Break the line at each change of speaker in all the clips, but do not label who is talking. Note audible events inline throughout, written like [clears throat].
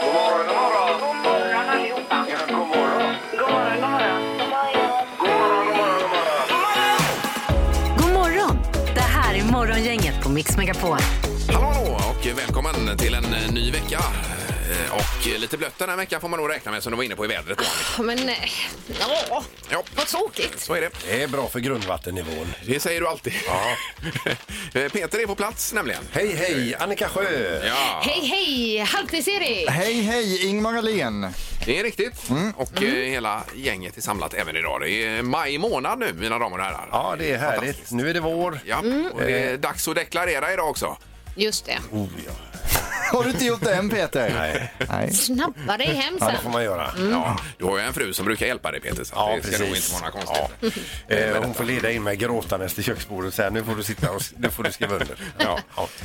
God morgon, god morgon.
God morgon allihopa.
Ja, god morgon.
God morgon, god morgon.
God morgon, god morgon, god morgon.
God morgon! Det här är Morgongänget på Mix Megapol.
Hallå hallå, och välkommen till en eh, ny vecka. Eh, Och eh, lite blött den här veckan får man nog räkna med som du var inne på i vädret. då, Annika.
Ja, Men eh, ja,
Ja,
vad tråkigt.
så är det.
Det är bra för grundvattennivån.
Det säger du alltid. [laughs] Eh, Peter är på plats nämligen.
Hej, hej! Annika Sjö!
Ja,
Hej, hej! Halvtids-Erik!
Hej, hej, Ingmar Ahlén.
det är riktigt.
Mm.
Och eh, hela gänget är samlat även idag. Det är maj månad nu, mina damer och herrar.
Ja, det är härligt. Nu är det vår.
Ja,
Mm.
och det är dags att deklarera idag också.
Just det.
Oh, ja.
Har du inte gjort det än Peter?
Nej.
Nej.
Snabba dig hem
Ja, det får
sen.
man göra.
Ja, du har ju en fru som brukar hjälpa dig Peter, så
Ja,
det ska
precis.
nog inte vara några konstigheter.
Eh, hon får leda in mig gråtandes till köksbordet och säga nu får du sitta och nu får du skriva under. [laughs] Ja.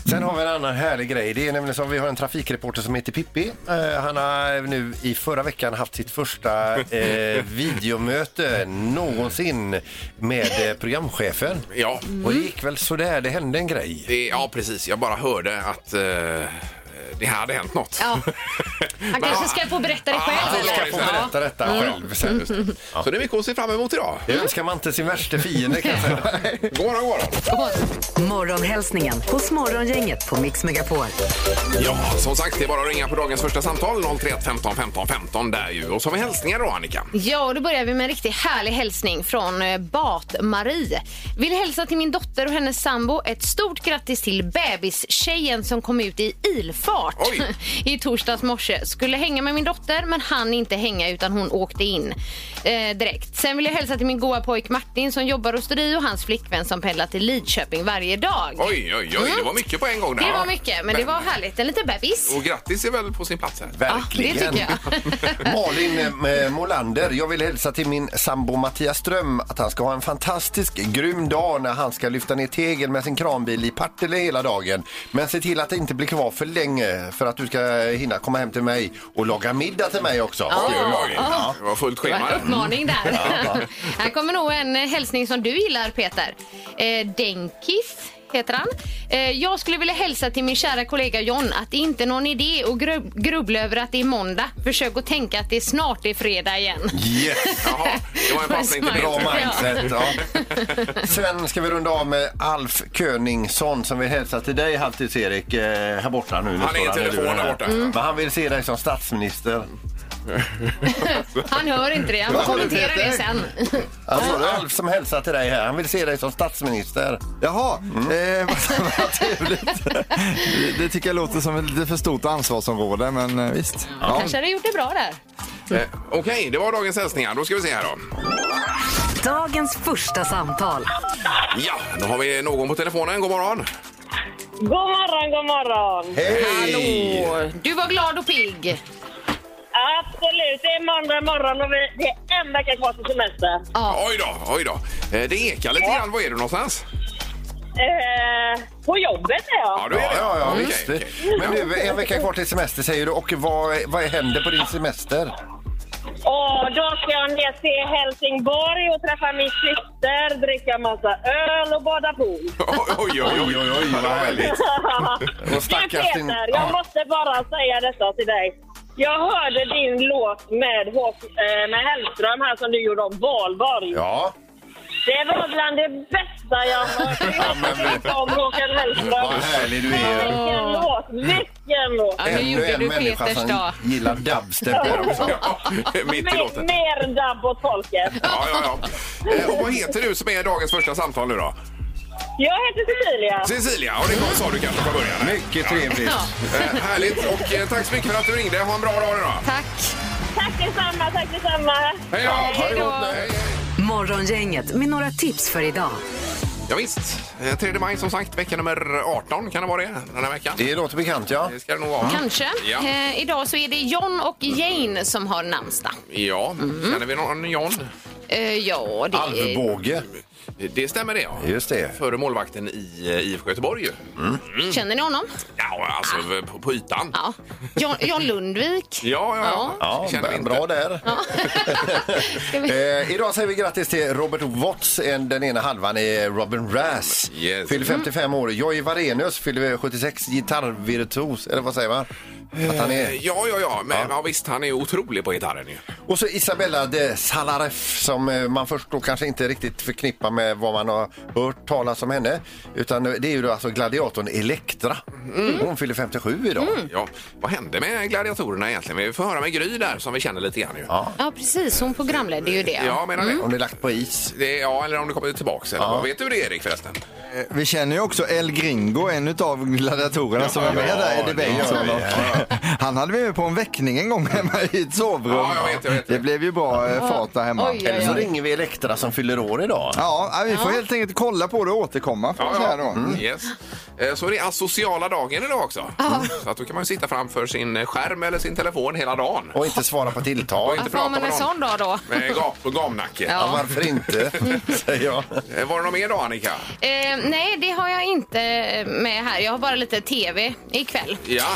Sen har vi en annan härlig grej. Det är nämligen så att vi har en trafikreporter som heter Pippi. Eh, han har nu i förra veckan haft sitt första [laughs] eh, videomöte någonsin med eh, programchefen.
Ja.
Och det gick väl sådär, det hände en grej.
Det, ja, precis. Jag bara hörde att eh, det hade hänt något.
Ja.
Men-
Han kanske ska få berätta det
Ja,
själv.
han
Jag ska
eller?
få berätta detta själv sen.
Så det är mycket att se fram emot idag.
Det önskar man inte sin värsta fiende kanske.
God morgon, god morgon.
Morgonhälsningen hos Morgongänget på Mix Megapol.
Ja, som sagt, det är bara att ringa på dagens första samtal. 031 15 15 15 där ju. Och så har vi hälsningar då, Annika.
Ja, och då börjar vi med en riktigt härlig hälsning från eh, Bat-Marie. Vill hälsa till min dotter och hennes sambo ett stort grattis till bebistjejen som kom ut i ilfart
Oj.
[laughs] i torsdags morse. Skulle hänga med min dotter men han inte hänga utan hon åkte in eh, direkt. Sen vill jag hälsa till min goa pojk Martin som jobbar hos Rio och hans flickvän som pendlar till Lidköping varje dag.
Oj, oj, oj. Det var mycket på en gång där.
Det var mycket, men det var härligt. En liten bebis.
Och grattis är väl på sin plats här.
Verkligen.
[laughs] Ja, det tycker
Malin eh, Molander, jag vill hälsa till min sambo Mattias Ström att han ska ha en fantastisk grym dag när han ska lyfta ner tegel med sin kranbil i Partille hela dagen. Men se till att det inte blir kvar för länge för att du ska hinna komma hem till mig och laga middag till mig också. skriver Malin. Ja.
Det var fullt
Det var
schema.
en uppmaning där. [laughs] Här kommer nog en hälsning som du gillar, Peter. Eh, Denkis heter han. Eh, jag skulle vilja hälsa till min kära kollega John att det inte är någon idé att grub- grubbla över att det är måndag. Försök att tänka att det snart är fredag igen.
Yes.
Jaha, det var en passning till
Bra
Ja.
Peter.
mindset. Ja. Sen ska vi runda av med Alf Königsson som vill hälsa till dig halvtids-Erik eh, här borta nu. nu
Han är
står
i
där du
telefon där
här.
borta. Mm.
Men han vill se dig som statsminister.
Han hör inte det. Han får kommentera det sen.
Alltså, Alf som hälsar till dig här, han vill se dig som statsminister.
Jaha,
Mm.
eh, vad, vad trevligt. Det- Det tycker jag låter som ett lite för stort ansvarsområde, men eh, visst. Ja.
Kanske hade gjort det bra där.
Eh, Okej, det var dagens hälsningar. Då ska vi se här då.
Dagens första samtal.
Ja, då har vi någon på telefonen. God morgon.
God morgon, god morgon.
Hallå! Du var glad och pigg.
Absolut, det är måndag morgon och vi- det är en vecka kvar till semester.
Ja.
Oj då, oj då. Eh, Det ekar lite grann. Var är du någonstans?
Eh, på jobbet är jag.
Ja, du är det. Mm.
ja, ja
Okej,
visst.
okej.
Men nu, en vecka kvar till semester säger du. Och vad, vad händer på din semester?
Och då ska jag ner till Helsingborg och träffa min syster, dricka massa öl och bada
[laughs]
pool.
Oj, oj, oj. oj, oj, oj.
vad härligt. Och
Du
stackars din...
Peter, jag
Ja.
måste bara säga detta till dig. Jag hörde din låt med, Håk- eh, med Hellström här som du gjorde om Valborg.
Ja,
Det var bland det bästa jag har
[laughs]
hört. Jag tycker inte om Håkan Hellström.
vad härlig du
Men
är.
Vilken låt! Vilken låt!
Ja, nu gjorde du Peters dag.
som gillar dubstep
[laughs]
här också.
Ja, [laughs] Mitt i
Mer,
låten.
mer dabb åt folket.
Ja, ja, ja. Eh, Och vad heter du som är dagens första samtal nu då?
Jag heter Cecilia.
Cecilia, och det sa du kanske från början. här.
Mycket trevligt.
Ja.
Eh, Härligt, och eh, tack så mycket för att du ringde. Ha en bra dag idag.
Tack.
Tack detsamma, tack detsamma.
Hej då! Ha det
då.
gott. Hej, hej.
Morgongänget med några tips för idag.
Ja, visst. Eh, 3 maj som sagt, vecka nummer 18 kan det vara det den här veckan.
Det låter bekant, ja.
Det ska det nog vara.
Kanske.
Ja,
Eh, idag så är det John och Jane som har namnsdag.
ja. känner vi någon John?
Eh, ja, det är...
Alvbåge.
Det stämmer det ja.
Just det.
Före målvakten i eh, IFK Göteborg ju.
Känner ni honom?
Ja, alltså v- på, på ytan. Ja,
Ja. John, John Lundvik.
ja, ja.
Ja,
Det känner vi inte.
bra där. eh, idag säger vi grattis till Robert Watts. En- Den ena halvan är Robin Rass.
Yes.
Mm. Fyller 55 år. Jojje Varenius fyller 76. Gitarrvirtuos, eller vad säger man? Att han är...
Ja, ja, ja. Men ja. visst, han är otrolig på gitarren ju.
Och så Isabella de Salaref som eh, man först då kanske inte riktigt förknippar med vad man har hört talas om henne. Utan det är ju då alltså gladiatorn Elektra. Hon fyller 57 idag.
Ja. Vad hände med gladiatorerna egentligen? Vi får höra med Gry där som vi känner lite grann ju. Ja,
Ja, precis. Hon programledde ju det.
ja Mm. menar det.
Hon är lagt på is.
det. Ja, eller om det kommer tillbaks. Eller? Vad vet du det Erik förresten?
Eh, Vi känner ju också El Gringo, en av gladiatorerna som är med
ja,
där i
det
debate.
gör vi.
Han hade vi med på en väckning en gång hemma i ett sovrum.
Ja, jag vet, jag vet.
Det blev ju bra eh, fart där hemma.
Oj, oj, oj.
Eller så ringer vi Elektra som fyller år idag.
Ja, ja, vi får helt enkelt kolla på det och återkomma. Får jag säga
Mm.
då.
Yes. Eh, Så är det asociala dagen idag också. Mm. Så att då kan man ju sitta framför sin eh, skärm eller sin telefon hela dagen.
Och inte svara på tilltal.
inte
Varför har
prata
man en
med
sån
någon.
dag då?
Med gap och gamnacke.
Ja, varför
[laughs]
inte? Säger jag.
Eh, Var det någon mer då Annika?
Eh, nej, det har jag inte eh, med här. Jag har bara lite tv ikväll.
Ja.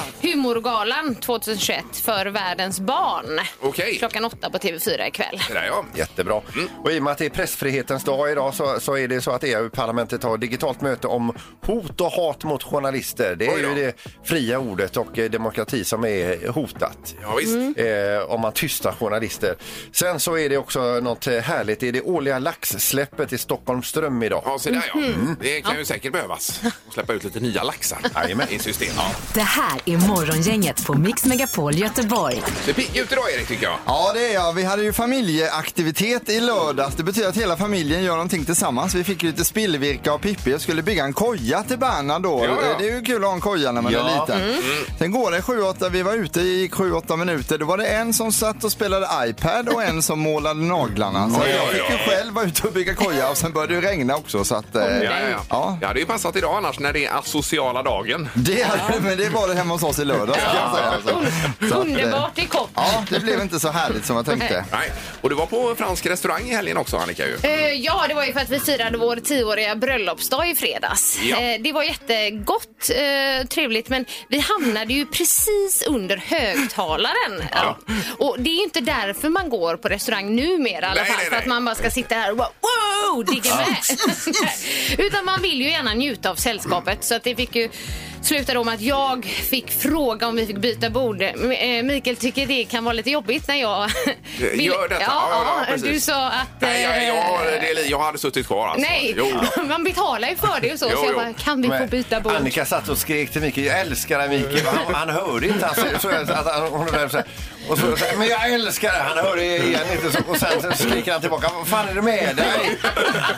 Humorgalan 2021 för världens barn.
Okej.
Klockan åtta på TV4 ikväll.
Det där ja.
Jättebra.
Mm.
Och i och med att det är pressfrihetens dag idag så, så är det så att EU-parlamentet har digitalt möte om hot och hat mot journalister. Det är
Oj då.
ju det fria ordet och eh, demokrati som är hotat.
Ja, visst.
Eh, om man tystar journalister. Sen så är det också något eh, härligt. Det är det årliga laxsläppet i Stockholms ström idag.
Ja, så där Mm-hmm. ja. Det kan ju säkert [laughs] behövas. Och släppa ut lite nya laxar i systemet. Ja.
Det här är Morgongänget på Mix Megapol Göteborg.
Det är pigg ut idag Erik tycker jag.
Ja, det är jag. Vi hade ju familjeaktivitet i lördags. Det betyder att hela familjen gör någonting tillsammans. Vi fick ju lite spillvirke av Pippi. Jag skulle bygga en koja till Berna då.
Ja, ja. Mm.
Det är ju kul att ha en koja när man
Ja.
är liten. Sen går det 7-8, vi var ute i 7-8 minuter. Då var det en som satt och spelade iPad och en som målade naglarna. Så
Oj,
jag
oj,
fick ju
oj.
själv vara ute och bygga koja och sen började det ju regna också. Så att, eh,
Ja, ja, ja.
Ja.
ja, det är ju passat idag annars när det är asociala dagen.
Det, hade, men det var det hemma hos oss i lördags kan jag säga. Alltså. Så att, eh,
Underbart i kopp.
Ja, det blev inte så härligt som jag tänkte.
Nej. Och du var på fransk restaurang i helgen också Annika ju.
Eh, Ja, det var ju för att vi firade vår tioåriga bröllopsdag i fredags.
Ja.
Eh, Det var jättegott, eh, trevligt, men vi hamnade ju precis under högtalaren. Ja. Och det är ju inte därför man går på restaurang numera i alla
Nej,
fall,
nej,
för att
nej.
man bara ska sitta här och bara wow, digga med. [laughs] Utan man vill ju gärna njuta av sällskapet, så att det fick ju sluta då med att jag fick fråga om vi fick byta bord. M- eh, Mikael tycker det kan vara lite jobbigt när jag [laughs] vill...
Gör detta.
Ja,
Ja, ja,
ja,
precis.
du sa att...
Nej, jag,
eh,
jag, det, är- jag hade suttit kvar alltså.
Nej,
Jo,
[laughs] man betalar ju för det och så.
Jo,
så jag
jo.
bara, kan vi få
Men
byta bord?
Annika satt och skrek till Mikael, jag älskar dig Mikael. Han, han hörde inte. Han, så, så, att han, hon blev så här, och så, så här, men jag älskar dig. Han hörde igen inte. Så, och sen så skriker han tillbaka, vad fan är det med dig?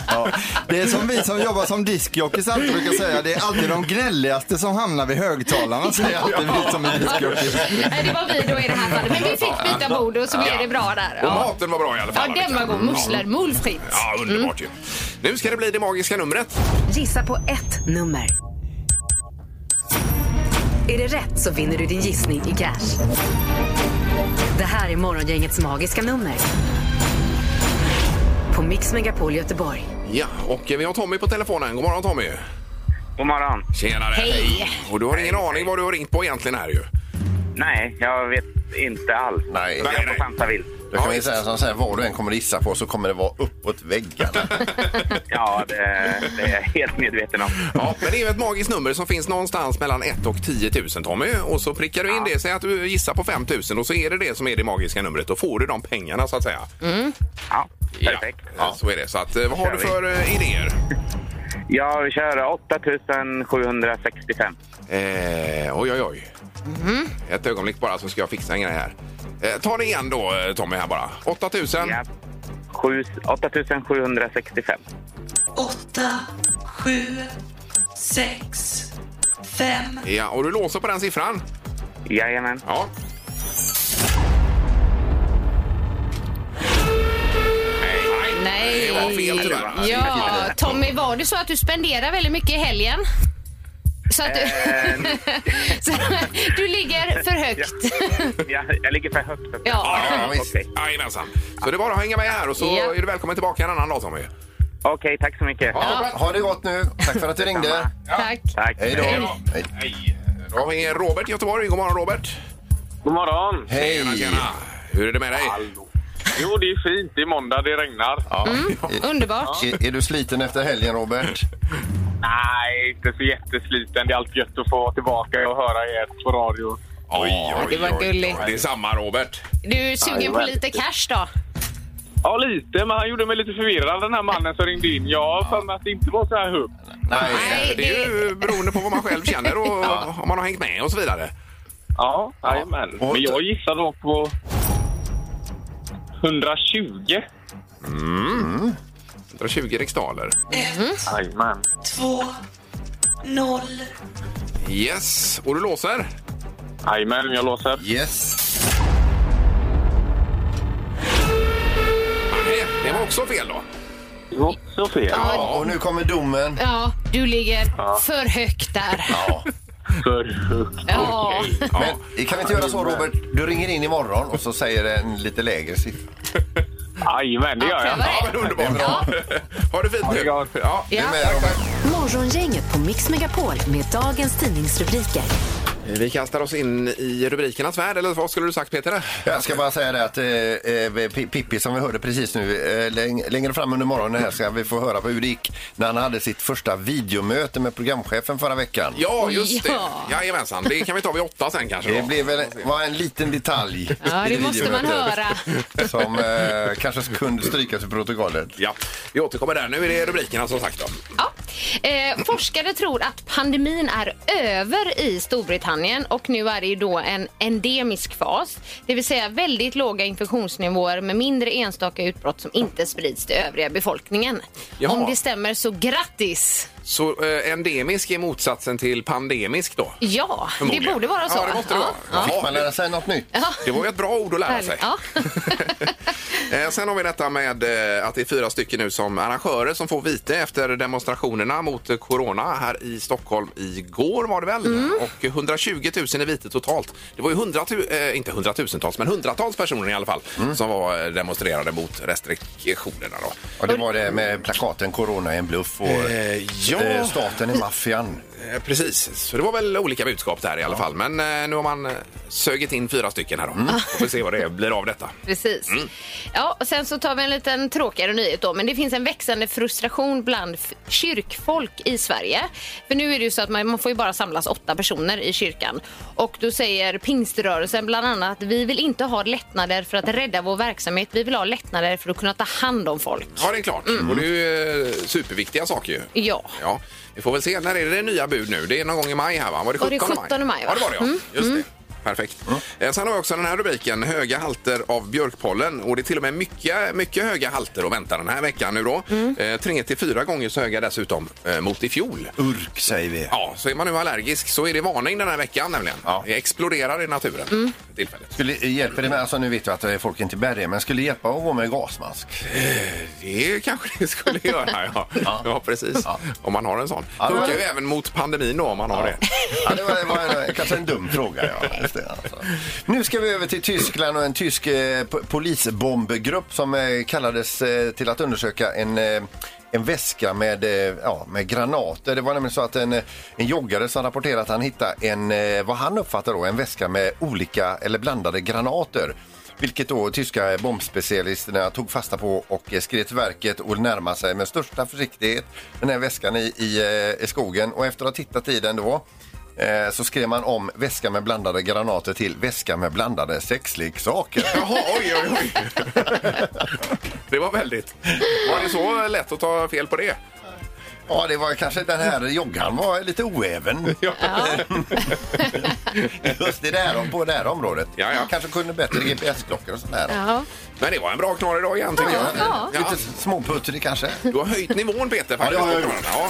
Ja. Det är som vi som jobbar som diskjockeys alltid brukar säga. Det är alltid de gnälligaste som hamnar vid högtalarna säger alltid vi som är diskjockeys.
Nej, det var vi då i det här fallet. Men vi fick byta bord och så blev det bra där.
Och
Ja,
maten var bra i alla
ja
fall.
den var
Annika.
god. Mm. Musslor, mulled frites.
Ja, underbart ju. Nu ska det bli det magiska numret.
Gissa på ett nummer. Är det rätt så vinner du din gissning i cash. Det här är Morgongängets magiska nummer. På Mix Megapol Göteborg.
Ja, och vi har Tommy på telefonen. God morgon Tommy.
God morgon.
Tjenare.
Hej.
Och du har ingen aning vad du har ringt på egentligen här ju.
Nej, jag vet inte alls.
Nej.
jag får chansa vilt.
Då kan vi säga som så här, vad du än kommer gissa på så kommer det vara uppåt väggarna.
Ja, det, det är jag helt medveten om.
Ja, men det är ju ett magiskt nummer som finns någonstans mellan 1 och 10 000 Tommy. Och så prickar du in det, säg att du gissar på 5 000 och så är det det som är det magiska numret. Då får du de pengarna så att säga.
Ja, perfekt.
Ja, så är det. Så att, eh, vad har
Kör
du
vi.
för eh, idéer?
Jag kör 8765.
Eh, oj, oj, oj. Ett ögonblick bara så ska jag fixa en grej här. Eh, ta det igen då eh, Tommy här bara. 8 000.
Mm.
Ja. Sju- 8765.
åtta, sju, sex, fem.
Ja, och du låser på den siffran?
Jajamän.
Ja.
Nej.
Det var fel tyvärr.
Ja, Tommy, var det så att du spenderar väldigt mycket i helgen? Så att du...
Eh.
[laughs]
Eh,
så, du ligger för högt.
Jag, jag ligger för högt upp.
Ja.
Ja, ja, visst.
Okej.
Jajamensan. Så det är bara att hänga med här och så
Ja.
är du välkommen tillbaka en annan dag Tommy.
Okej, tack så mycket.
Ha det gott nu. Tack för att du ringde.
Tack.
Tack.
Hej då. Hej.
Hej. Då har vi Robert i Göteborg. God morgon Robert.
God morgon!
Tjena,
Hej.
tjena. Hur är det med dig?
Jo, det är fint. Det är måndag, det regnar.
Underbart.
Är, är du sliten efter helgen, Robert?
Nej, inte så jättesliten. Det är allt gött att få vara tillbaka och höra er på radio.
Oj, oj,
det var
oj, oj.
gulligt.
Det är samma, Robert.
Du är sugen på lite cash då?
Ja, lite, men han gjorde mig lite förvirrad den här mannen som ringde in. Jag har för mig att det inte var så här högt.
Nej,
Nej,
det är ju beroende på vad man själv känner och om man har hängt med och så vidare.
Ja, jajamän.
Och-
Men jag gissar då på 120.
120 riksdaler.
ett,
Jajamän.
två, noll.
Yes, och du låser?
Jajamän, jag låser.
Yes.
Nej, det var också fel då.
Det var också fel.
Ja, och nu kommer domen.
Ja, du ligger för högt där.
Ja.
För högt.
Ja.
Men kan vi inte göra så Robert? Du ringer in imorgon och så säger en lite lägre siffra.
Jajamän, det gör jag.
Ja, men underbart.
Ja.
Ha det fint
det
nu.
är bra.
Ja.
Du är
Ja.
med Robert?
Morgongänget på Mix Megapol med dagens tidningsrubriker.
Vi kastar oss in i rubrikernas värld, eller vad skulle du sagt Peter?
Jag ska bara säga det att eh, eh, P- Pippi som vi hörde precis nu, eh, läng- längre fram under morgonen här ska vi få höra på hur det gick när han hade sitt första videomöte med programchefen förra veckan.
Ja, just det.
Ja.
Jajamensan, det kan vi ta vid åtta sen kanske.
Det
då.
blev väl, var en liten detalj
Ja,
i
det måste man
videomötet [laughs]
höra.
som eh, kanske kunde strykas i protokollet.
Ja, vi återkommer där. Nu är det rubrikerna som sagt. Då.
Ja. Eh, forskare tror att pandemin är över i Storbritannien och nu är det ju då en endemisk fas. Det vill säga väldigt låga infektionsnivåer med mindre enstaka utbrott som inte sprids till övriga befolkningen.
Jaha.
Om det stämmer så grattis!
Så eh, endemisk är motsatsen till pandemisk då?
Ja, det
Förmodligen.
borde vara så.
Ja, det måste det vara.
Fick man lära sig något nytt?
Det var ju ett bra ord att lära sig.
Ja.
Eh, Sen har vi detta med eh, att det är fyra stycken nu som arrangörer som får vite efter demonstrationerna mot eh, corona här i Stockholm igår var det väl? Och 120 000 i vite totalt. Det var ju hundratu- eh, inte hundratusentals, men hundratals personer i alla fall som var eh, demonstrerade mot restriktionerna. Då.
Och det var det med plakaten Corona är en bluff och
Eh, ja.
eh, staten är maffian.
Eh, Precis, så det var väl olika budskap där i alla fall. Men eh, nu har man eh, sögit in fyra stycken här då. Får vi se vad det blir av detta.
Precis.
Mm.
Ja, och sen så tar vi en liten tråkigare nyhet då, men det finns en växande frustration bland f- kyrkfolk i Sverige. För nu är det ju så att man, man får ju bara samlas åtta personer i kyrkan och då säger pingströrelsen bland annat vi vill inte ha lättnader för att rädda vår verksamhet. Vi vill ha lättnader för att kunna ta hand om folk.
Ja, det är klart. Och det är ju eh, superviktiga saker ju.
Ja.
Ja, vi får väl se. När är det nya bud nu? Det är någon gång i maj här va? Var det
Var
17
det 17 maj, va?
Ja, det var det ja. Just det. Perfekt. Eh, Sen har vi också den här rubriken, höga halter av björkpollen. Och det är till och med mycket, mycket höga halter att vänta den här veckan nu då. Eh, Tre till fyra gånger så höga dessutom eh, mot i fjol.
Urk säger vi.
Ja, så är man nu allergisk så är det varning den här veckan nämligen.
Ja.
Det exploderar i naturen
Mm.
för tillfället.
Skulle, hjälper det med, alltså nu vet jag att eh, folk inte bär det, men skulle hjälpa att gå med gasmask?
Det kanske
[laughs]
det skulle göra, ja. ja. precis. Om man har en sån.
Ja, det var-
Funkar ju även mot pandemin då om man har det.
Ja, det var, det var en, kanske en dum fråga. Ja. Just det, alltså. Nu ska vi över till Tyskland och en tysk eh, po- polisbombgrupp som eh, kallades eh, till att undersöka en eh, en väska med, eh, ja, med granater. Det var nämligen så att en, eh, en joggare som rapporterade att han hittade en, eh, vad han uppfattar då, en väska med olika eller blandade granater. Vilket då tyska bombspecialisterna tog fasta på och eh, skrev till verket och närmade sig med största försiktighet den här väskan i, i, eh, i skogen. Och efter att ha tittat i den då eh, så skrev man om väska med blandade granater till väska med blandade sexleksaker.
Jaha, oj, oj, [laughs] oj. Det var väldigt. Var det så lätt att ta fel på det?
Ja, det var kanske den här joggaren var lite
[laughs]
oäven. Just i det här, om- på det här området.
Ja, ja.
Kanske kunde bättre GPS-klockor och sånt där.
Ja.
Men det var en bra knorr idag igen, tycker jag.
ja.
Ja.
Lite småputtrig kanske.
Du har höjt nivån, Peter.
Ja, det
Faktiskt.
har jag gjort.
Ja.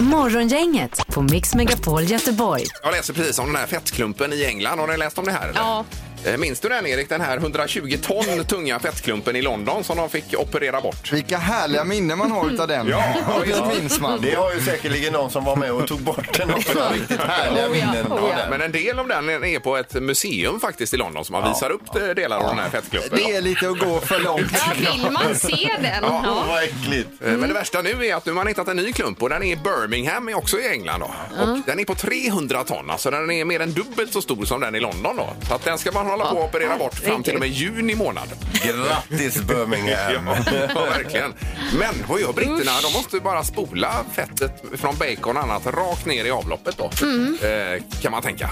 Morgongänget på Mix Megapol Göteborg.
Jag läser precis om den här fettklumpen i England. Har ni läst om det här? Eller?
Ja.
Eh, Minns du den, Erik? Den här 120 ton tunga fettklumpen i London som de fick operera bort.
Vilka härliga minnen man har utav den.
Ja, ja,
det minns man.
Det har ju säkerligen någon som var med och tog bort den också. Riktigt härliga
Oh ja,
minnen
oh
av
ja.
den.
Men en del av den är på ett museum faktiskt i London som man visar upp eh, delar av den här fettklumpen.
Det är lite att gå för långt.
ja, vill man se den?
Åh,
Ja.
vad äckligt.
Eh, Men det värsta nu är att nu har man hittat en ny klump och den är i Birmingham, är också i England. Då. Och den är på 300 ton, alltså den är mer än dubbelt så stor som den i London. Då. Så att den ska man ha hålla på att operera bort fram till och med juni månad.
Grattis Birmingham!
Ja, [laughs] ja, verkligen. Men vad gör britterna? De måste ju bara spola fettet från bacon och annat rakt ner i avloppet då. Eh, kan man tänka.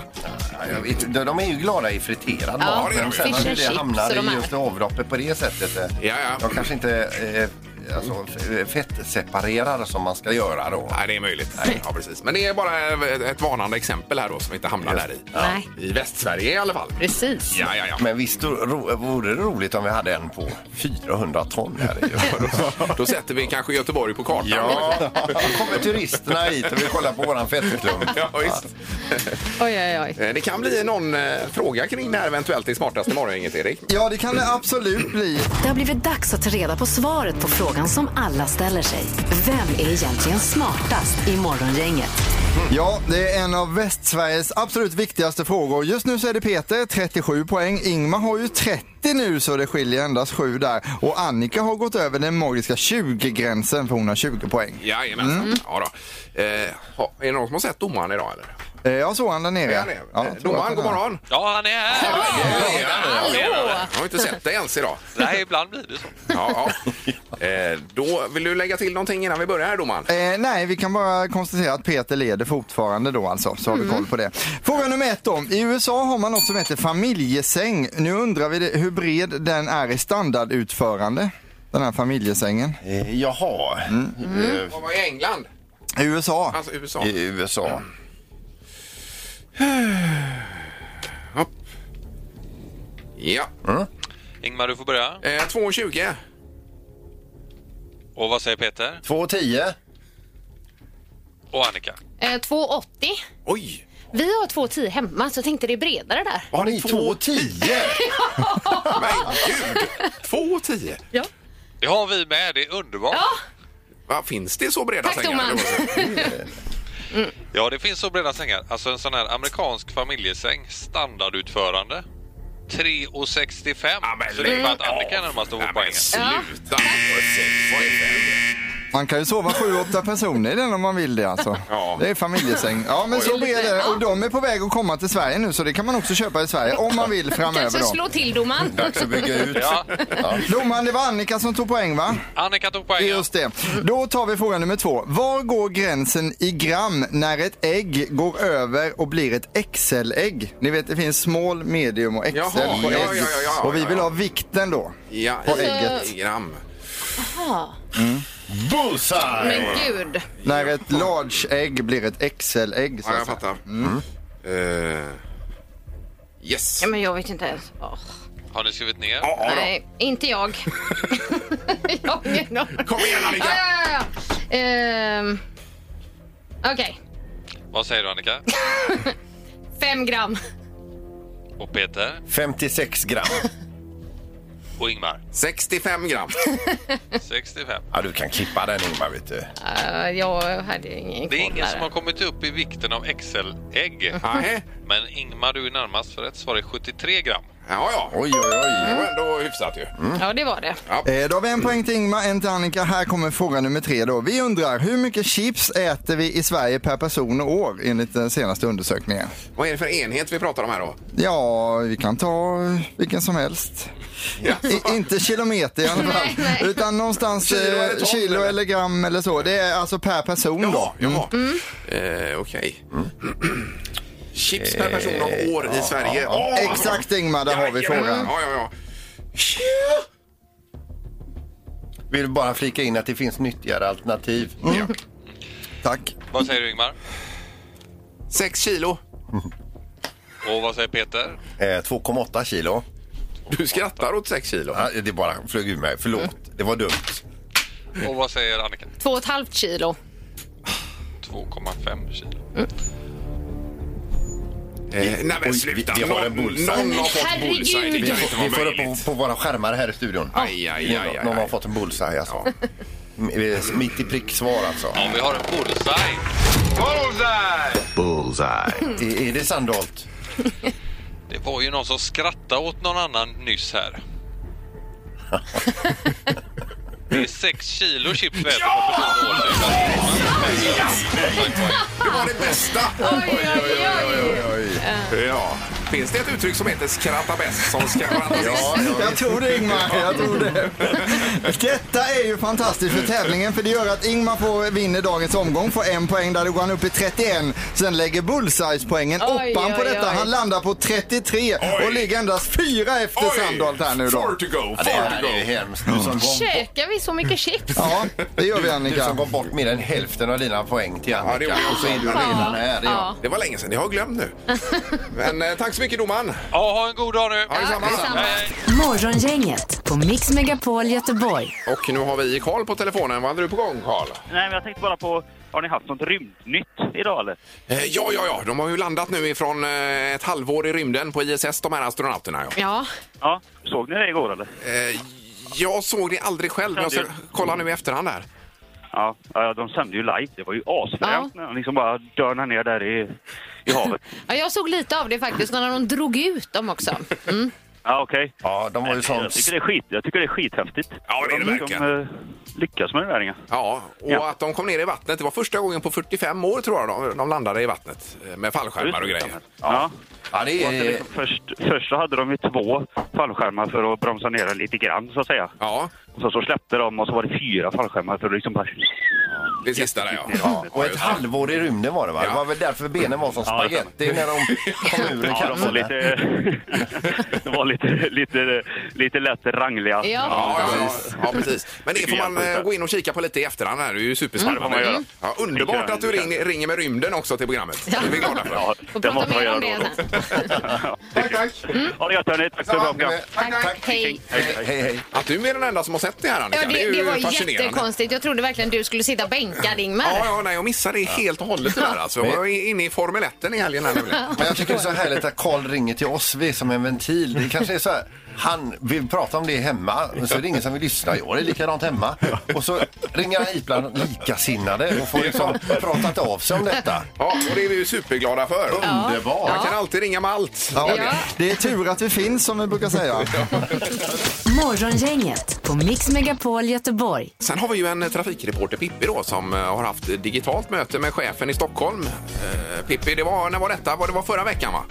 Jag vet, de de är ju glada i friterad
Ja,
mat, men
fish
sen när
and
det
chips
hamnar
och de
i
här.
just avloppet på det sättet. eh,
Ja, ja.
De kanske inte eh, alltså, f- fettseparerar som man ska göra då.
Nej, det är möjligt. Nej, ja, precis. Men det är bara ett- ett varnande exempel här då som vi inte hamnar där i.
Nej.
I Västsverige i alla fall.
Precis.
Ja, ja, ja.
Men visst ro- ro, vore det roligt om vi hade en på 400 ton här
[laughs]
i
Då sätter vi kanske Göteborg på kartan.
Ja, då kommer turisterna hit och vill kolla på våran fettklump.
[laughs] Ja, visst.
Oj, oj, oj.
Eh, Det kan bli någon eh, fråga kring det här eventuellt i smartaste morgongänget, Erik.
Ja, det kan det absolut bli.
Det har blivit dags att ta reda på svaret på frågan som alla ställer sig. Vem är egentligen smartast i Morgongänget?
Ja, det är en av Västsveriges absolut viktigaste frågor. Just nu så är det Peter, 37 poäng. Ingmar har ju 30 nu så det skiljer endast 7 där. Och Annika har gått över den magiska 20-gränsen för hon har 20 poäng.
Jajamensan. Ja, då. Eh, ha, är det någon som har sett domaren idag eller?
Eh, Jag såg han där nere.
Är han det?
Ja,
Eh,
jag tror att
domaren,
han
god
är.
morgon!
Ja, han är här!
Jag har inte sett dig ens idag.
Nej, ibland blir det så.
Ja, ja. Eh, då vill du lägga till någonting innan vi börjar här domaren?
Eh, nej, vi kan bara konstatera att Peter leder fortfarande då alltså, så har
Mm.
vi koll på det. Fråga nummer ett då. I USA har man något som heter familjesäng. Nu undrar vi det, hur bred den är i standardutförande, den här familjesängen.
Eh, Jaha,
Mm.
Eh,
Vad var i England?
I USA.
Alltså USA?
i USA.
Ja.
Mm.
Ingmar, du får börja.
Eh, 2,20.
Och vad säger Peter?
2,10.
Och Annika?
Eh, 2,80.
Oj!
Vi har 2,10 hemma så jag tänkte det är bredare där.
Har ni 2,10?
Men gud! 2,10.
Det har vi med, det är underbart. Ja,
Va, finns det så breda
Tack,
sängar?
domaren.
det finns så breda sängar. Alltså en sån här amerikansk familjesäng, standardutförande. 3,65.
Ja, men
så det är
lägg
för att Annika är
av.
närmast att få
Ja, men
poängen.
sluta! Vad är det?
Man kan ju sova sju, åtta personer i den om man vill det alltså.
Ja.
Det är familjesäng. Ja, men så bred är det. Och de är på väg att komma till Sverige nu, så det kan man också köpa i Sverige om man vill
[laughs]
framöver
Kanske
då.
slå till domaren.
Dags att bygga ut.
Ja,
Domaren, det var Annika som tog poäng va?
Annika tog
Det är
poängen.
Just det. Då tar vi fråga nummer två. Var går gränsen i gram när ett ägg går över och blir ett XL-ägg? Ni vet det finns small, medium och XL.
Jaha, ja, ja, ja, ja,
och vi
ja,
vill
ja.
ha vikten då.
Ja,
På
i-
ägget.
i gram.
Bullseye!
Men gud.
När ett large ägg blir ett XL-ägg. så
Ja, jag
att säga.
fattar. Mm. Eh, yes.
Ja, men jag vet inte ens. Åh,
Har ni skrivit ner?
Ja, ja, då.
nej, inte jag. [laughs] jag har ingen [laughs] aning.
Kom igen Annika!
Ja, ja, ja, ja. Ah! Ehm, Okej,
Vad säger du Annika?
fem gram.
Och Peter?
56 gram.
Och Ingmar?
[laughs]
65 gram.
65.
Ja, du kan klippa den Ingmar vet du.
Eh, jag hade ingen
Det är
koll
ingen
där.
som har kommit upp i vikten av XL-ägg.
Nähä.
Men Ingmar, du är närmast för rätt svar är 73 gram.
ja, ja.
Oj, oj,
Det
oj.
var ändå hyfsat ju.
Ja, det var det.
Eh, Då har vi en poäng till Ingmar, en till Annika. Här kommer fråga nummer tre då. Vi undrar hur mycket chips äter vi i Sverige per person och år enligt den senaste undersökningen?
Vad är det för enhet vi pratar om här då?
Ja, vi kan ta vilken som helst. I, inte kilometer i alla fall,
Nej, nej.
utan någonstans
Kilo
kilo,
eller
eller,
ton,
kilo
eller?
eller gram eller så. Det är alltså per person
Jaha,
då. Mm.
jaha. Eh, Okej. Chips per person och år i Sverige. Åh,
Exakt Ingmar, där har vi
jajamän.
frågan.
Ja, ja, ja.
Vill bara flika in att det finns nyttigare alternativ.
Mm.
Tack.
Vad säger du Ingmar?
Sex kilo.
Och vad säger Peter?
Eh, 2,8 kilo.
Du skrattar åt sex kilo.
Ja, det bara flög ur mig. Förlåt,
Mm.
det var dumt.
Och vad säger Annika?
Två och ett halvt kilo.
2,5 kilo.
Eh, nej men
Oj,
sluta.
vi- vi har en
Någon-
bullseye.
Någon
Men
har fått
herregud.
bullseye. Det
Vi
kan inte
får, vi får
vara
upp på,
möjligt.
på våra skärmar här i studion.
Aj, aj, aj, aj,
Någon har
aj.
fått en bullseye alltså. Mm, eh, Mitt i prick svar alltså.
Mm.
Ja, vi har en bullseye.
Är, är det Sandholt?
Det var ju någon som skrattade åt någon annan nyss här. Det är 6 kilo chips vi äter på personer år. så det är
Det var det bästa.
Oj, oj, oj.
Ja, Finns det ett uttryck som heter skratta bäst som skrattar bäst?
Ja, ja.
Jag tror det Ingmar, jag
[laughs]
tror det. Detta är ju fantastiskt för tävlingen för det gör att Ingmar får, vinner dagens omgång, får en poäng där, då går han upp i 31. Sen lägger bullseye-poängen
Oj,
oppan på
oj,
detta,
oj.
han landar på 33
Oj.
och ligger endast fyra efter Sandholt här nu
Four
då.
to go,
Det
four
här
to
är
go.
hemskt. Du som gav bort,
Käkar vi så mycket chips?
Ja, det gör vi
du som
Annika.
gav bort mer än hälften av dina poäng till
Ja, det
Annika.
gjorde jag
och så är du
också.
redan här. Ja.
Det var länge sedan, jag har glömt nu. Men eh, tack så mycket domaren.
Ja, ha en god dag nu.
Ja, detsamma.
detsamma.
Hej, hej.
Morgongänget på Mix Megapol Göteborg.
Och nu har vi Karl på telefonen. Vad hade du på gång Karl?
Nej, men jag tänkte bara på, har ni haft något rymdnytt idag eller?
Eh, Ja, ja, ja. De har ju landat nu ifrån eh, ett halvår i rymden på ISS, de här astronauterna. Ja.
Ja,
Ja, såg ni det igår eller?
Eh, Jag såg det aldrig själv, men jag ska kolla nu i efterhand här.
Ja, ja, de sände ju live. Det var ju asfränt
Ja.
när de liksom bara dörnar ner där i, i havet.
Ja, jag såg lite av det faktiskt när de drog ut dem också. Mm.
Ja, okej.
ja, de var ju sån
Jag tycker det är skit. Jag tycker det är skithäftigt.
Ja, det är det
de,
verkligen.
De, eh, lyckas med det där inga.
Ja, och
Ja.
att de kom ner i vattnet. Det var första gången på 45 år tror jag de, de landade i vattnet eh, med fallskärmar och grejer.
Ja.
Ja, det
Och att det
är...
liksom först, först så hade de ju två fallskärmar för att bromsa ner den lite grann så att säga.
Ja,
Och så, så släppte de och så var det fyra fallskärmar för att liksom bara...
det sista där ja.
Ja,
Och ett halvår i rymden var det va?
Ja.
Det var väl därför benen var som
Ja, det
spagetti när de kom ur
Ja, de var
kapseln. där.
lite, [laughs] de var lite, lite, lite lätt rangliga.
Ja.
Ja, ja, ja, ja, precis. Men det får man eh, gå in och kika på lite i efterhand. Här. Det är ju
Ja, det
superspännande.
får man göra.
Ja, underbart att du ring, ringer med rymden också till programmet. Det är vi glada för.
Ja,
Och
det
prata
måste man
mer
göra
om
då.
det sen.
Tack, tack.
Ha det gött hörni, tack för
Ja,
ett bra program.
Tack, hej.
Hej, hej, hej.
Att du är den enda som har sett det här, Annika.
Ja, det,
är
det
ju
var
fascinerande.
jättekonstigt. Jag trodde verkligen du skulle sitta bänkad,
Ja,
Ingmar.
ja, nej, jag missade det helt och hållet. det Där, alltså. Jag var inne i Formel 1 i helgen. Här, nämligen.
Men jag tycker det är så härligt att Karl ringer till oss. Vi är som en ventil. Det kanske är så här. Han vill prata om det hemma, men så är det ingen som vill lyssna. Jag är likadant hemma. Och så ringer han hit bland likasinnade och får liksom pratat av sig om detta.
ja, och det är vi ju superglada för.
Underbart.
Man kan alltid ringa med allt.
Ja,
Ja.
det är tur att vi finns som vi brukar säga.
Morgongänget på Mix Megapol Göteborg.
Sen har vi ju en eh, trafikreporter, Pippi, då, som eh, har haft digitalt möte med chefen i Stockholm. Eh, Pippi, det var, när var detta? Var det var förra veckan, va?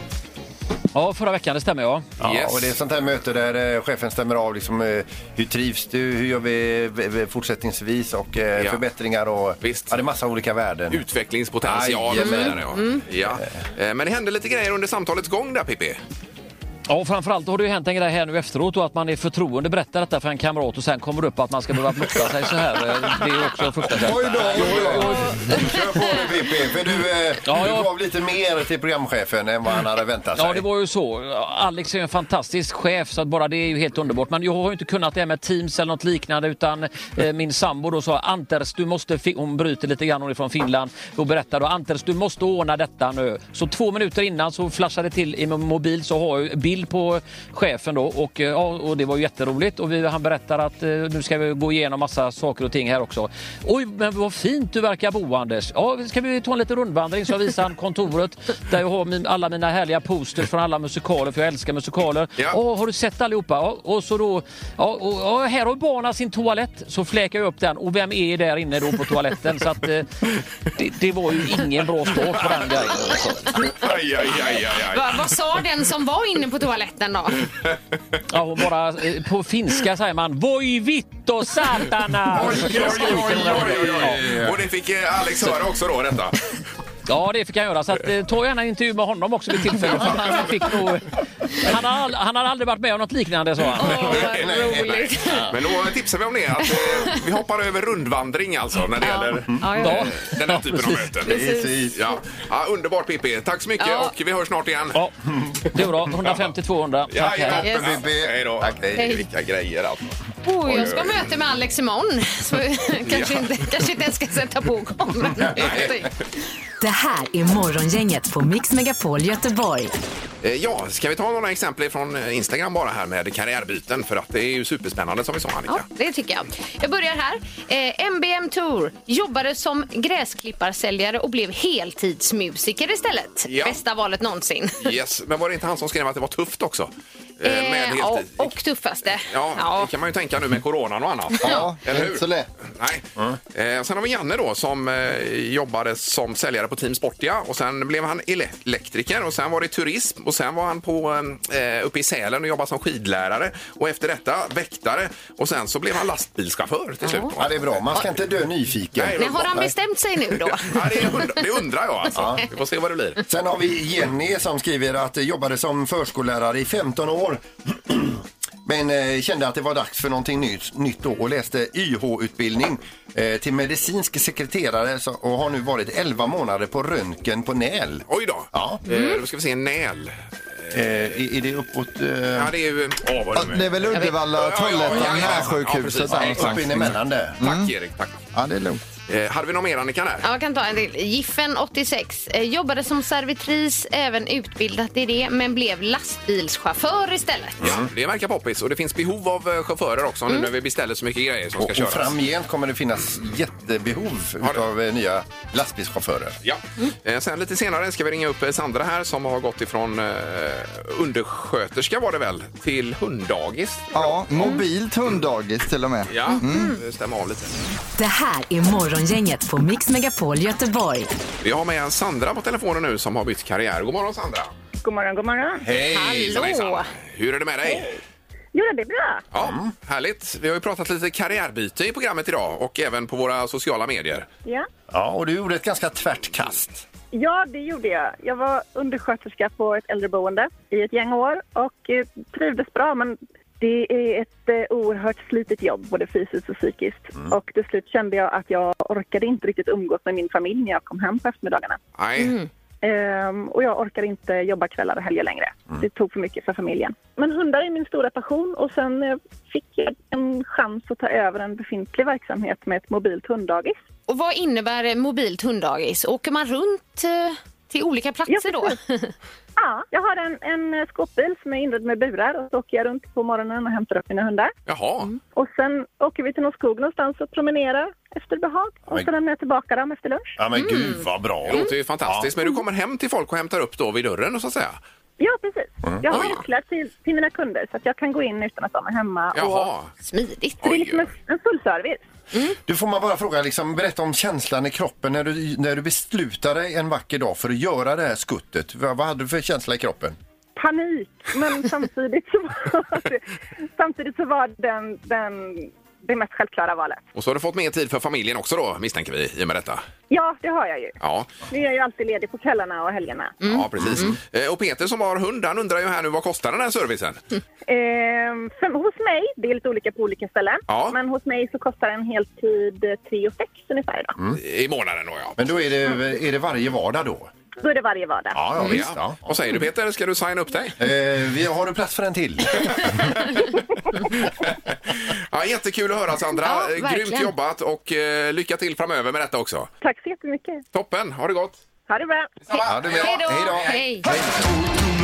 Ja, förra veckan, det stämmer ja.
Ja,
Yes.
och det är sånt här möte där eh, chefen stämmer av liksom, eh, hur trivs du, hur gör vi v- v- fortsättningsvis och eh,
Ja.
förbättringar och
Visst.
Ja, det är massa olika värden.
Utvecklingspotential och så
Jajamän.
vidare. Ja. Ja. Eh, Men det hände lite grejer under samtalets gång där, Pippi.
Ja, och framförallt har det ju hänt en grej här nu efteråt och att man i förtroende berättar detta för en kamrat och sen kommer det upp att man ska behöva blutta sig så här. Eh, Det är också fruktansvärt.
Oj då, oj då.
[laughs]
Kör på nu Pippi, för du, eh,
Ja,
du
ja.
gav lite mer till programchefen än vad han hade väntat sig.
Ja, det var ju så. Alex är ju en fantastisk chef så att bara det är ju helt underbart. Men jag har ju inte kunnat det här med Teams eller något liknande utan eh, min sambo då sa Anters, du måste, fi-" hon bryter lite grann, hon är från Finland och berättar då Anters, du måste ordna detta nu. Så två minuter innan så flashade det till i min mobil så har jag ju bild på chefen då och, eh, ja, och det var ju jätteroligt och vi, han berättar att eh, nu ska vi gå igenom massa saker och ting här också. Oj, men vad fint du verkar bo Anders. Ja, ska vi ta en liten rundvandring så visar han kontoret där jag har min, alla mina härliga posters från alla musikaler för jag älskar musikaler.
Ja.
Åh, eh, har du sett allihopa? Ja, och så då, ja, och, ja, här har barnen sin toalett. Så fläkar jag upp den och vem är där inne då på toaletten? Så att eh, det, det var ju ingen bra start på den grejen. Alltså.
Aj, aj, aj, aj, aj.
Va, vad sa den som var inne på toaletten då?
Ja, hon bara, eh, på finska säger man Voi vittu satana!
Oj, oj, oj, oj, oj, oj. Och det fick eh, Alex höra också då, detta.
Ja, det fick han göra. Så att, eh, ta gärna en intervju med honom också vid tillfälle. Så att han, fick nog, han, har all, han har aldrig varit med om något liknande, sa han.
Åh, vad roligt.
Men då tipsar vi om det, att eh, vi hoppar över rundvandring alltså när det gäller
Ja, Mm. ja.
Ja.
den här typen av möten.
Precis.
Ja. Ja, underbart Pippi, tack så mycket
Ja.
och vi hörs snart igen.
Ja, det är bra. 150-200. Tack, hej.
toppen.
Yes.
Pippi. Hej då.
Tack, hej.
Hej.
Vilka grejer alltså.
Oh, jag
Oj,
ska
oj, oj.
möta med Alex imorgon.
[laughs]
Så kanske,
Ja.
inte, kanske inte ens ska sätta på
[laughs]
kameran.
Det här är Morgongänget på Mix Megapol Göteborg.
Eh, Ja, ska vi ta några exempel från eh, Instagram bara här med karriärbyten för att det är ju superspännande som vi sa
Ja,
Annika.
det tycker jag. Jag börjar här. Eh, MBM Tour jobbade som gräsklipparsäljare och blev heltidsmusiker istället.
Ja.
Bästa valet någonsin.
Yes, men var det inte han som skrev att det var tufft också? Eh, med
Eh, ja,
heltid.
och tuffaste.
Ja, det kan man ju tänka nu med coronan och annat.
Ja,
Eller
det är
hur?
inte så lätt.
Nej. Eh, sen har vi Janne då som eh, jobbade som säljare på Team Sportia och sen blev han ele- elektriker och sen var det turism och sen var han på, eh, uppe i Sälen och jobbade som skidlärare och efter detta väktare och sen så blev han lastbilschaufför till slut.
Ja, det är bra. Man ska inte dö nyfiken.
Nej,
Men har han bestämt sig nu då?
[laughs] Ja, det, undrar, det undrar jag alltså. Vi får se vad det blir.
Sen har vi Jenny som skriver att eh, jobbade som förskollärare i 15 år. [clears throat] Men eh, kände att det var dags för någonting nytt, nytt då och läste YH-utbildning eh, till medicinsk sekreterare så, och har nu varit 11 månader på röntgen på NÄL.
Oj då.
Ja.
Eh, då ska vi se, Näl.
Eh, är, är det uppåt? Eh,
Ja, det är ju... Åh, vad
Ja,
är
Det är väl Uddevalla,
Ja, ja, ja, ja, ja,
Trollhättan,
ja,
närsjukhuset
ja,
där
precis.
Upp in
någonstans.
emellan där.
Tack Erik, tack.
Ja, det är lugnt.
Eh, hade vi någon mer Annika där?
Ja, jag kan ta en till. Giffen, 86. Eh, Jobbade som servitris, även utbildat i det, men blev lastbilschaufför istället.
Ja, det verkar poppis och det finns behov av eh, chaufförer också nu när vi beställer så mycket grejer som
Och,
ska
och
köras.
framgent kommer det finnas jättebehov
Ja, det-
av nya lastbilschaufförer.
Ja. Eh, Sen lite senare ska vi ringa upp eh, Sandra här som har gått ifrån eh, undersköterska var det väl till hunddagis.
Ja, mobilt hunddagis till och med.
Ja, det stämmer av lite.
Det här är Morgongänget på Mix Megapol Göteborg.
Vi har med en Sandra på telefonen nu som har bytt karriär. God morgon Sandra!
God morgon, god morgon.
Hej!
Hallå.
hejsan. Hur är det med dig?
Jo, det är bra.
Ja, Härligt! Vi har ju pratat lite karriärbyte i programmet idag och även på våra sociala medier.
Ja.
Ja, och du gjorde ett ganska tvärt kast.
ja, det gjorde jag. Jag var undersköterska på ett äldreboende i ett gäng år och eh, trivdes bra men det är ett eh, oerhört slitigt jobb, både fysiskt och psykiskt. Och till slut kände jag att jag orkade inte riktigt umgås med min familj när jag kom hem på eftermiddagarna.
Nej,
Ehm, och jag orkar inte jobba kvällar och helger längre. Det tog för mycket för familjen. Men hundar är min stora passion och sen eh, fick jag en chans att ta över en befintlig verksamhet med ett mobilt hunddagis.
Och vad innebär eh, mobilt hunddagis? Åker man runt eh, till olika platser då?
Ja, jag har en, en skåpbil som är inredd med burar och så åker jag runt på morgonen och hämtar upp mina hundar.
jaha.
Och sen åker vi till någon skog någonstans och promenerar efter behag. Och
Oj.
sen lämnar jag tillbaka dem efter lunch.
Ja, men gud vad bra.
Det låter ju fantastiskt. Men du kommer hem till folk och hämtar upp då vid dörren och så att säga?
Ja, precis. Jag har
Oj.
nycklar till, till mina kunder så att jag kan gå in utan att de är hemma. Och,
Jaha.
[laughs] Smidigt.
så det är
Oj,
liksom en,
oj.
en full service.
Du får man bara fråga, liksom, berätta om känslan i kroppen när du, när du beslutade en vacker dag för att göra det här skuttet. Vad, vad hade du för känsla i kroppen?
panik. Men samtidigt så var det, samtidigt så var den, den, det mest självklara valet.
Och så har du fått mer tid för familjen också då, misstänker vi, i och med detta.
Ja, det har jag ju.
Ja,
Nu är jag ju alltid ledig på kvällarna och helgerna.
Mm.
ja precis. Eh, Och Peter som har hund, han undrar ju här nu vad kostar den här servicen?
Mm.
Ehm, för, hos mig, det är lite olika på olika ställen,
Ja.
men hos mig så kostar en heltid eh, 3 och 6 ungefär idag.
I månaden då ja.
Men då är det, är det varje vardag då?
Då är det varje vardag.
Ja, ja visst.
ja.
Ja.
Vad säger du Peter, ska du signa upp dig?
Eh, vi, har du plats för en [laughs] till?
Ja, jättekul att höra Sandra,
Ja,
Eh, grymt
verkligen.
jobbat och eh, lycka till framöver med detta också.
Tack så jättemycket.
Toppen, ha det gott!
Ha det bra.
Ja, du med.
Hej då!
Hej då.
Hej.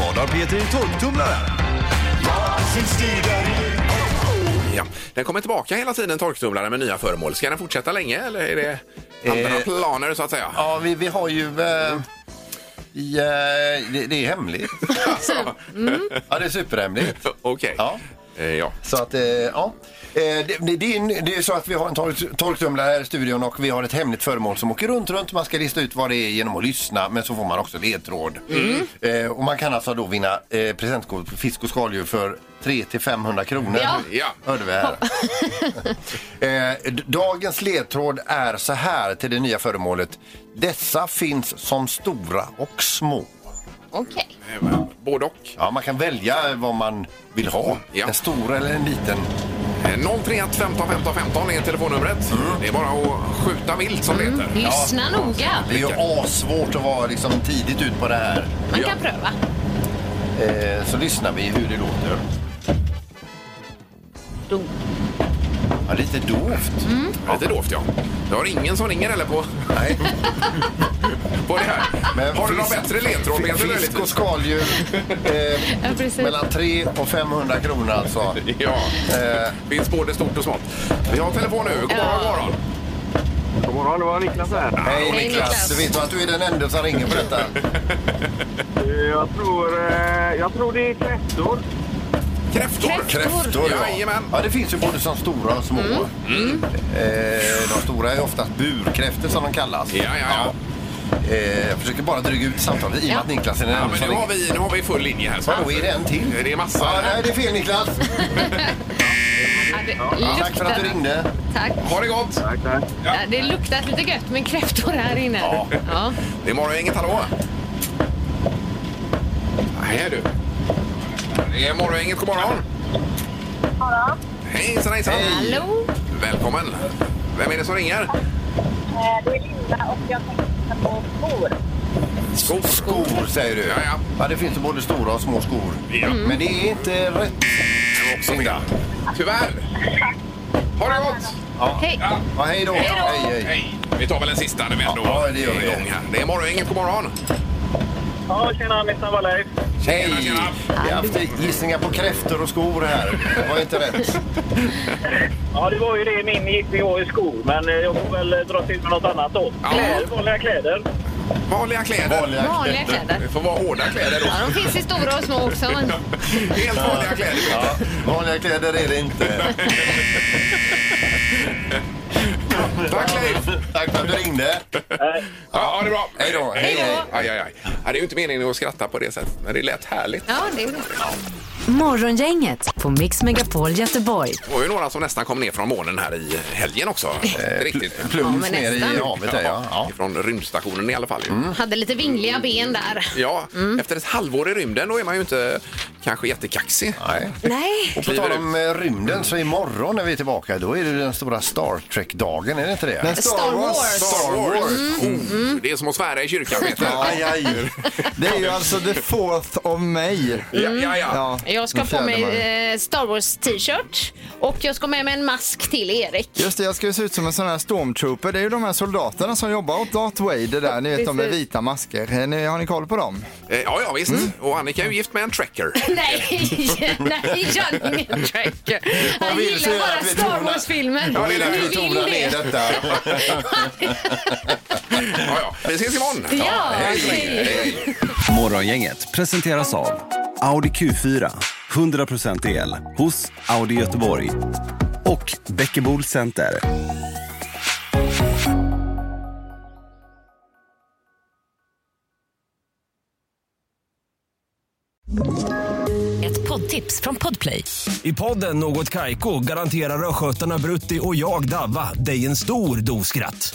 Vad har Peter i torktumlaren?
Ja. Den kommer tillbaka hela tiden, torktumlaren med nya föremål. Ska den fortsätta länge eller är det andra
Eh,
planer så att säga?
Ja, vi, vi har ju... Eh, i, eh, det, det är hemligt. [laughs]
Alltså,
Ja, det är superhemligt.
Okej.
Ja.
Eh, ja.
Så att, eh, ja. Eh, det, det, det, är, en- det är så att vi har en tork, torktumlare här i studion och vi har ett hemligt föremål som åker runt, runt. Man ska lista ut vad det är genom att lyssna, men så får man också ledtråd. Eh, och man kan alltså då vinna eh, presentkort på fisk och skaldjur för 300-500 kronor.
Ja.
Ja.
Hörde vi här. [laughs] eh, d- dagens ledtråd är så här till det nya föremålet. Dessa finns som stora och små.
Okej.
Eh, Både och.
Ja, man kan välja vad man vill ha.
Ja.
En stor eller en liten.
Eh, 031 15 15 15 är telefonnumret.
Mm.
Det är bara att skjuta vilt som det heter.
Mm, Lyssna noga.
Det är ju assvårt att vara liksom tidigt ut på det här.
Man kan pröva.
Eh, så lyssnar vi hur det låter.
Dunk.
Ja, lite dovt.
Ja. Lite dovt ja. Du har ingen som ringer eller på,
Nej.
[laughs] på det här?
Men
har du någon
fisk-
bättre ledtråd
fi-
Peter?
Fisk och skaldjur. Eh,
Ja, precis.
mellan 3 och 500 kronor alltså.
Ja,
Eh,
finns både stort och smått. Vi har telefon nu. God morgon, god morgon.
God morgon, det var Niklas här.
Hej Niklas. Du vet du att du är den enda som ringer på detta?
Jag tror, eh, jag tror det är kräftor.
Kräftor?
Kräftor, ja.
Jajamän. Mm.
ja. Det finns ju både som stora och små. Eh, de stora är oftast burkräftor som de kallas.
Ja, ja, ja.
Eh, jag försöker bara dryga ut samtalet i och med att Niklas är den
Ja,
enda
men
som
nu har,
ringer.
vi, nu har vi full linje här. Så.
Vadå, är det en till?
Det är massa.
Ja, nej, det är fel Niklas. Tack för att du ringde.
Tack.
Ha det gott! Tack,
tack.
Ja, det luktar lite gött med kräftor här inne. Ja.
Det är Morgongänget, hallå! Nej du. Det är Morgongänget, god morgon!
morgon.
Hejsan hejsan!
Hej. Hallå.
Välkommen! Vem är det som ringer?
Eh, Det är Linda och jag tänkte på skor.
Skor, skor säger du. Ja, ja. det finns ju både stora och små skor.
Mm.
Men det är inte rätt. Linda.
Tyvärr. Ha det gott!
Ja.
Hej.
Ja, hej då.
Hej,
Hej, hej.
Vi tar väl en sista när vi ändå
Ja, det gör vi.
är igång här. Det är Morgongänget, god morgon!
Ja, tjena, Nissan var Leif.
Hej! Vi har haft gissningar på kräftor och skor här. Det var inte rätt.
Ja, det var ju det min gissning var i skor, men eh, jag får väl eh, dra till med något annat då. Kläder, vanliga kläder.
Vanliga kläder. Vanliga,
Vanliga kläder. kläder.
Det får vara hårda kläder då.
Ja, de finns i stora och små också.
Helt vanliga kläder.
Ja, vanliga kläder är det inte.
Tack Leif!
Tack för att du ringde.
Ja, ja, det är bra. Hej
då.
Hej då. Aj, aj, aj. Ja, Det är ju inte meningen att skratta på det sättet, men det lät härligt.
Ja, det är det.
Morgongänget på Mix Megapol Göteborg.
Det var ju några som nästan kom ner från månen här i
[laughs]
helgen också. Inte Riktigt.
plums Ja, men ner i nästan. havet där, ja. Mm.
Från rymdstationen i alla fall. ju.
Hade lite vingliga ben där.
Ja, efter ett halvår i rymden då är man ju inte kanske jättekaxig.
Nej.
Nej.
Och på tal om eh, rymden så imorgon när vi är tillbaka då är det den stora Star Trek-dagen, är det inte det?
Nej, Star Star Wars. Wars.
Star Wars.
Mm.
Oh, det är som att svära i kyrkan.
[laughs]
vet du.
Aj, aj. [laughs] Det är ju alltså the fourth of May.
Mm.
ja,
Jag ska
den
få
fjärde
mig
maj.
eh, Star Wars t-shirt och jag ska med mig en mask till Erik.
Just det, jag ska ju se ut som en sån här stormtrooper. Det är ju de här soldaterna som jobbar åt Darth Vader där. Ni vet de med
Precis.
vita masker. Har ni, har ni koll på dem?
Eh, Ja, ja visst.
Mm.
Och Annika är ju gift med en tracker. [laughs]
Nej, nej, jag är ingen tracker. Han
vill
gillar
säga
bara
att vi
Star
tonar-
Wars-filmen.
Jag vill att vi tonar ner
detta.
ja, ja. Vi ses imorgon.
Ja,
hej. hej.
Morgongänget presenteras av Audi Q4. 100% el hos Audi Göteborg. Och Bäckebol Center.
Ett poddtips från Podplay.
I podden Något Kaiko garanterar östgötarna Brutti och jag, Davva, dig en stor dos skratt.